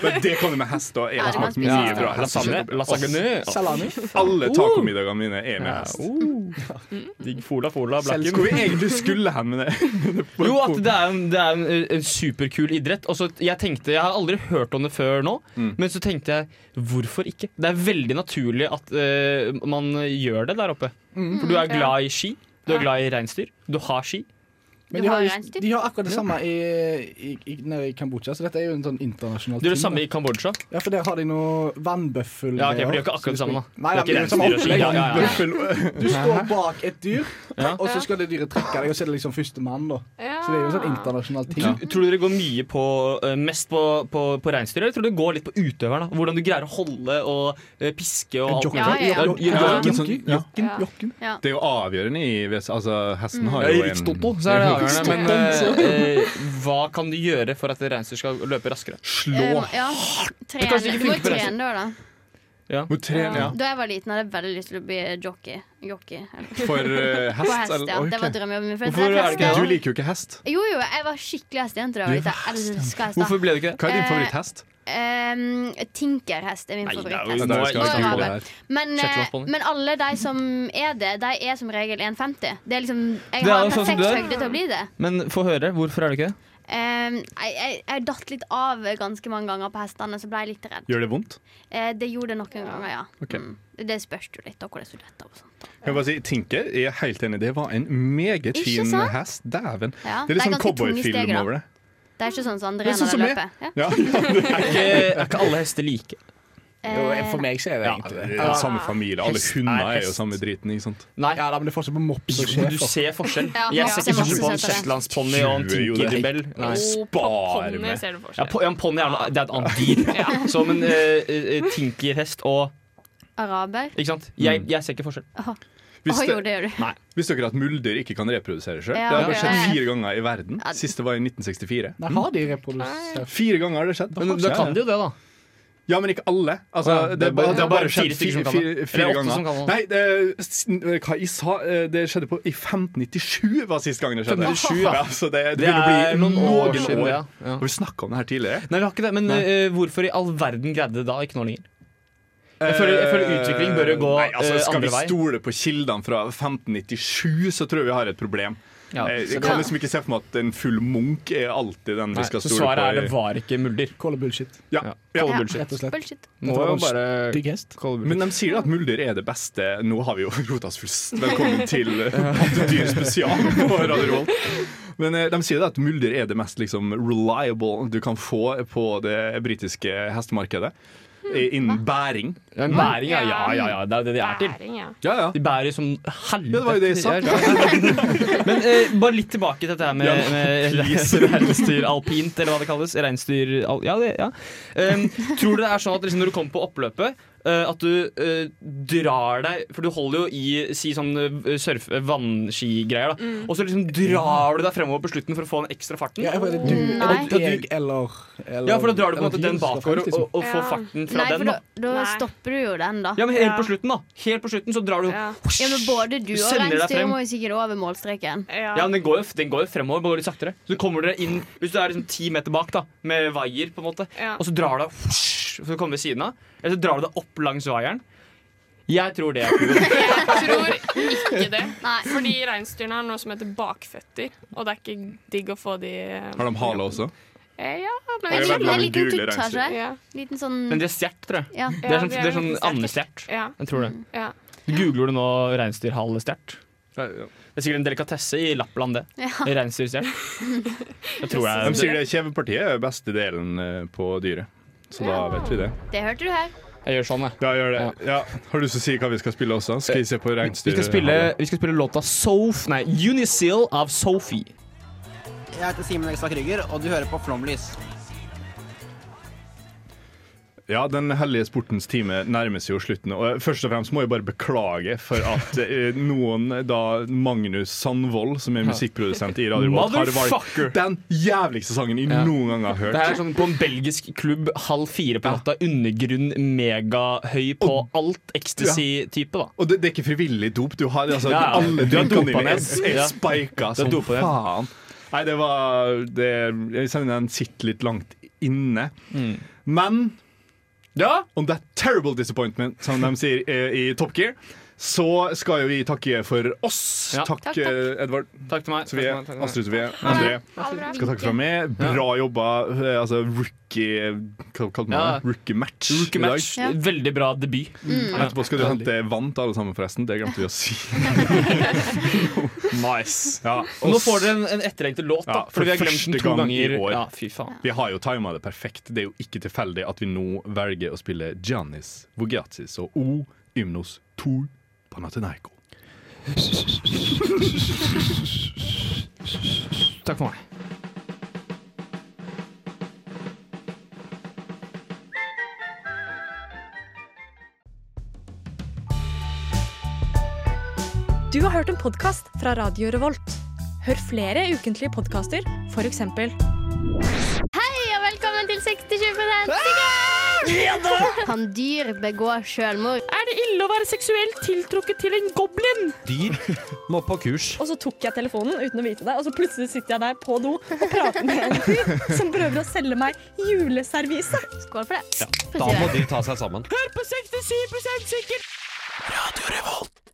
S1: Men det kan du med hest, og jeg
S3: Ja,
S1: har
S3: du kan
S1: smakt
S3: spise
S1: mye
S3: hest.
S1: bra
S3: Ja, lasagne- lasagne. Salami.
S1: Alle tacomiddagene mine er med
S3: Ja, oh, Uh,
S1: hest.
S3: Digg fola, fola, blakken.
S1: Hvor vi egentlig skulle hen med det.
S3: Jo, at det er en, det er en, eh, en superkul idrett. Og så jeg tenkte, jeg har aldri hørt om det før nå, men så tenkte jeg hvorfor ikke? Det er veldig naturlig at eh, man gjør det der oppe.
S4: Mm.
S3: For du er
S4: Ja.
S3: glad i ski, du er glad i reinsdyr, du har ski.
S4: Men de har, jo- de har akkurat det samme i, i, i, nede i Kambodsja, så dette er jo en sånn internasjonal
S3: Det er det
S4: ting,
S3: samme
S4: da.
S3: i Kambodsja.
S4: Ja, for der har de noe vannbøffel
S3: Ja, ok, for de gjør ikke akkurat det samme, da.
S4: Nei,
S3: Det er
S4: nei, men det er samme
S3: ikke reinsdyr og
S4: opplegg.
S3: ski. Ja, ja, ja.
S4: Vannbøffel. Du står bak et dyr,
S3: Ja.
S4: og så skal det dyret trekke deg, og så er det liksom førstemann, da.
S2: Ja.
S4: Så det er jo en sånn internasjonal ting.
S3: Tror- Tror du dere går mye på, eh, mest på, på, på reinsdyret, eller tror du det går litt på utøveren? da? Hvordan du greier å holde og eh, piske og alt
S1: Jockey. Ja, ja, ja.
S3: Jockey,
S1: Ja,
S3: jockey,
S1: men sånn-
S3: jockey.
S1: Ja. Det er jo avgjørende i hvis- Altså, hesten
S3: Mm.
S1: har
S3: Ja,
S1: jo
S3: i
S1: en
S3: Rikstoto så er det avgjørende, men eh, eh, hva kan du gjøre for at et reinsdyr skal løpe raskere?
S5: Eh,
S3: Slå!
S5: ja.
S3: kanskje
S5: Trene.
S3: ikke
S5: Du må
S3: funker på resten.
S5: trene da, da.
S3: Ja.
S5: Da jeg var liten, hadde jeg veldig lyst til å bli jockey. jockey eller-
S1: For eh, hest?
S5: På hest,
S1: eller-
S5: ja. Det
S1: ok.
S5: var drømmejobben min. for
S1: Hvorfor
S5: jeg
S1: er det ikke det?
S5: hester-
S1: Du liker jo ikke hest.
S5: Jo, jo, jeg var skikkelig hestejente da jeg var
S1: Du
S5: liten. Jeg elska hester.
S1: Hvorfor ble du ikke det? Hva er din
S5: Eh,
S1: favoritthest?
S5: Um, tinkerhest er min
S1: Nei, det er jo-
S5: favoritthest.
S1: det er jo skal vi
S5: Og
S1: snakke om
S5: rabe.
S1: her.
S5: men, eh,
S1: Shetlandsponny.
S5: men alle de som er det, de er som regel 1,50. Det er liksom, jeg
S3: Det er
S5: har en
S3: jo sånn som
S5: perfekt
S3: du er.
S5: høyde til å bli det.
S3: Men få høre, hvorfor er det ikke det?
S5: Um, jeg, jeg, jeg datt litt av ganske mange ganger på hestene, så ble jeg litt redd.
S1: Gjør det vondt?
S5: Eh, det gjorde det noen ganger, ja. Mm.
S1: Ok.
S5: Det spørs jo litt av hvordan du detter. og sånn. sånt.
S1: Jeg vil bare si, Tinker jeg er helt enig. Det var en meget
S5: Ikke
S1: fin
S5: sant?
S1: hest. Dæven. det er
S5: Ja, det er
S1: litt sånn
S5: ganske tunge steg,
S1: cowboyfilm
S5: da.
S1: over det.
S5: Det er ikke sånn som
S1: Det
S5: andre
S1: er sånn som meg.
S5: når de løper. Ja.
S1: Ja, ja, det
S3: Er ikke, er ikke alle hester like?
S5: Eh,
S1: for meg
S3: så er
S1: det egentlig det. er samme familie. Alle
S3: Hest er
S1: hunder er jo
S3: hest.
S1: samme driten. ikke sant?
S3: Nei.
S4: Ja, da, men det er forskjell på mops og
S3: Jo,
S4: sjef.
S3: du ser forskjell.
S2: Ja,
S3: jeg
S2: ja,
S3: ser
S2: det
S3: ikke forskjell på
S2: er
S3: en
S2: masse forskjell.
S3: shetlandsponni og en
S1: Tjue, jo, det er
S3: tinkerdebell.
S1: helt- Jo, på ponni
S2: ser du forskjell.
S3: Ja, på, ja, en ponni er, noe- det er et annet dyr. Så, men eh, eh, tinkerhest og
S5: Eh, Araber.
S3: Ikke sant? Jeg, jeg ser ikke forskjell.
S5: Åh.
S1: Hvis
S5: Åh,
S1: det-
S5: jo, det gjør du.
S1: Nei. Visste dere at muldyr ikke kan reprodusere sjøl?
S5: Ja,
S1: det har
S5: ok.
S1: bare skjedd fire ganger i verden. Siste var i 1964.
S4: Der har de reprodusert.
S1: Fire ganger har det skjedd.
S4: Men da kan
S3: jo
S4: de
S3: det, da.
S1: Ja, men ikke alle. Altså,
S3: Ah,
S4: Ja,
S1: det, er bare- det har bare skjedd fire,
S3: fire stykker som kan
S1: fire,
S3: det.
S1: fire
S3: Eller åtte som
S1: ganger.
S3: kan det.
S1: Nei, det, s- hva jeg sa, eh, det skjedde på i 1597 var sist gang det skjedde.
S3: 1597, ja.
S1: ja, så det, det,
S3: Det
S1: begynner
S3: er
S1: å bli
S3: noen år siden,
S1: år.
S3: ja. Ja.
S1: Har vi snakka om det her tidligere?
S3: Nei, vi har ikke det, men
S1: Nei.
S3: eh, hvorfor i all verden greide det da ikke nå lenger? Jeg føler, jeg føler utvikling bør jo gå
S1: Nei, altså,
S3: eh,
S1: Skal
S3: andre
S1: vi
S3: vei.
S1: stole på kildene fra 1597, så tror jeg vi har et problem.
S3: Ja,
S1: Eh,
S3: så
S1: jeg kan
S3: det-
S1: liksom ikke se for meg at en full munk er alltid den
S3: Nei,
S1: vi skal
S3: så
S1: stole på.
S3: svaret er
S1: i-
S3: det var ikke muldyr.
S4: Call it bullshit.
S1: Ja,
S3: Call it bullshit.
S4: Rett og slett.
S5: Bullshit.
S3: Må
S1: Dette var
S3: jo
S1: en
S3: bare
S4: stygg hest.
S3: Call it bullshit.
S1: Men de sier jo at muldyr er det beste. Nå har vi jo rota oss fullst. Velkommen til eh, Pattedyr spesial på Radio Revolt. Men eh, de sier da at muldyr er det mest liksom, reliable du kan få på det britiske hestemarkedet. eh, Innen bæring.
S3: Ja, en bæring, ja, ja, ja, ja. Det er jo det de er til.
S2: Bæring, ja.
S1: Ja, ja.
S3: De bærer som
S1: Ja,
S3: helvete.
S1: det var jo det jeg sa.
S3: Men eh, bare litt tilbake til dette her med,
S1: Ja, men
S3: med
S1: please.
S3: reinsdyr alpint, eller hva det kalles. Reinsdyr al Ja, det, ja. Um, tror du det er sånn at liksom, når du kommer på oppløpet, eh, at du eh, drar deg For du holder jo i si sånn eh, surf, eh, vannskigreier, da.
S4: Mm.
S3: Og så liksom drar du deg fremover på slutten for å få den ekstra farten.
S4: Ja, jeg bare, du,
S3: Og-
S4: eller
S3: og du-
S4: deg, eller, eller
S3: ja, for da drar du på en måte
S4: eller
S3: den
S4: de som står
S3: bakover
S4: fremst,
S3: og,
S4: liksom.
S3: og får farten fra
S5: Nei, for
S3: den. da
S5: Da, da stopper du jo den, da.
S3: Ja, men helt på slutten, da. Helt på slutten så drar du
S5: Ja. Ja, men både du
S3: Du
S5: og
S3: sender deg
S5: reinsdyret
S3: frem.
S5: må jo sikkert over målstreken.
S3: Ja, men den går, jo- den går jo fremover, bare går litt saktere. Så kommer dere inn, Hvis du er liksom ti meter bak da med vaier, på en måte og så drar du deg whoosh, for å komme ved siden av, eller så drar du deg opp langs vaieren Jeg tror det er kult.
S2: Ikke det. Fordi reinsdyrene har noe som heter bakføtter, og det er ikke digg å få de
S1: Har de hale også?
S2: Eh, Ja, men
S1: Det er
S5: En
S1: veldig
S5: liten, en
S1: mange
S5: liten
S1: gule
S5: tutt, kanskje.
S1: reinsdyr.
S2: Ja.
S5: Liten sånn
S3: Men de er stjert, tror jeg.
S5: Ja.
S3: Det er sånn,
S5: Ja,
S3: det er sånn
S5: veldig sterke.
S3: andestjert.
S2: Ja.
S3: Jeg tror det.
S2: Ja.
S3: Du googler det nå reinsdyrhalestjert.
S1: Det
S3: er sikkert en delikatesse i Lappland, det.
S2: Ja.
S3: Reinsdyrstjert. Jeg tror det er
S1: De sier det kjevepartiet er beste delen eh, på dyret. Så da vet vi det.
S5: Det hørte du her.
S3: Jeg gjør sånn, jeg.
S1: Ja, gjør det. Ja. Har du lyst til å si hva vi skal spille også? Skal vi se på
S3: Vi
S1: reinsdyret?
S3: skal spille, vi skal spille låta Sof... Nei, Unisil av Sophie.
S10: Jeg heter Simen Ekstad Krüger, og du hører på Flomlys.
S1: Ja, Den hellige sportens time nærmer seg jo slutten. Og først og fremst må jeg bare beklage for at eh, noen, da Magnus Sandvold, som er musikkprodusent i Radio Revolt, har
S3: Motherfucker!
S1: valgt den jævligste sangen jeg noen gang har hørt.
S3: Det er sånn på en belgisk klubb halv fire på natta, undergrunn megahøy på alt ecstasy-type, da.
S1: Og det, det er ikke frivillig dop. Du har altså,
S3: Ja, ja.
S1: alle
S3: Du har
S1: drinkene
S3: dopa
S1: dine er,
S3: ned.
S1: er
S3: Ja.
S1: spika
S3: Du har
S1: som
S3: dopa ned.
S1: faen. Nei, det var det, Jeg kjenner den sitter litt langt inne.
S3: Mm.
S1: Men on that terrible disappointment, som de sier eh, i Top Gear, så skal jo vi takke for oss.
S3: Ja.
S1: Takk,
S3: Takk, takk.
S1: eh, Edvard.
S3: Takk til meg.
S1: Sofie,
S3: Takk til meg.
S1: Astrid Sofie,
S3: Ha det.
S1: André.
S3: Ha det bra.
S1: Skal takke fra meg. Bra jobba. eh, Altså rookie Hva kalte man
S3: Ja.
S1: det? Rookie match.
S3: Rookie
S1: i dag.
S3: match. Veldig bra debut.
S1: Mm. Etterpå skal du hente vann til alle sammen, forresten. Det glemte vi å si.
S3: nice.
S1: Ja, og
S3: Nå får dere en, en etterlengtet låt, da.
S1: ja,
S3: fordi vi har glemt
S1: første
S3: den to
S1: gang i
S3: ganger.
S1: år.
S3: Ja, fy faen.
S1: Vi har jo tima det perfekt. Det er jo ikke tilfeldig at vi nå velger å spille Giannis Vogiatis og O Ymnos 2 Panathinaiko.
S3: Takk for meg.
S12: Du har hørt en podkast fra Radio Revolt. Hør flere ukentlige podkaster, f.eks.
S5: Hei og velkommen til 60-20
S12: Ja
S5: sikkert!
S12: da!
S5: Kan dyr begå selvmord? Er det ille å være seksuelt tiltrukket til en goblin?
S13: Dyr må på kurs.
S12: Og så tok jeg telefonen uten å vite det, og så plutselig sitter jeg der på do og prater med en fyr som prøver å selge meg juleservise.
S5: Skål for det.
S13: Da må de ta seg sammen.
S14: Hør på 67 sikkert!
S13: Radio Revolt.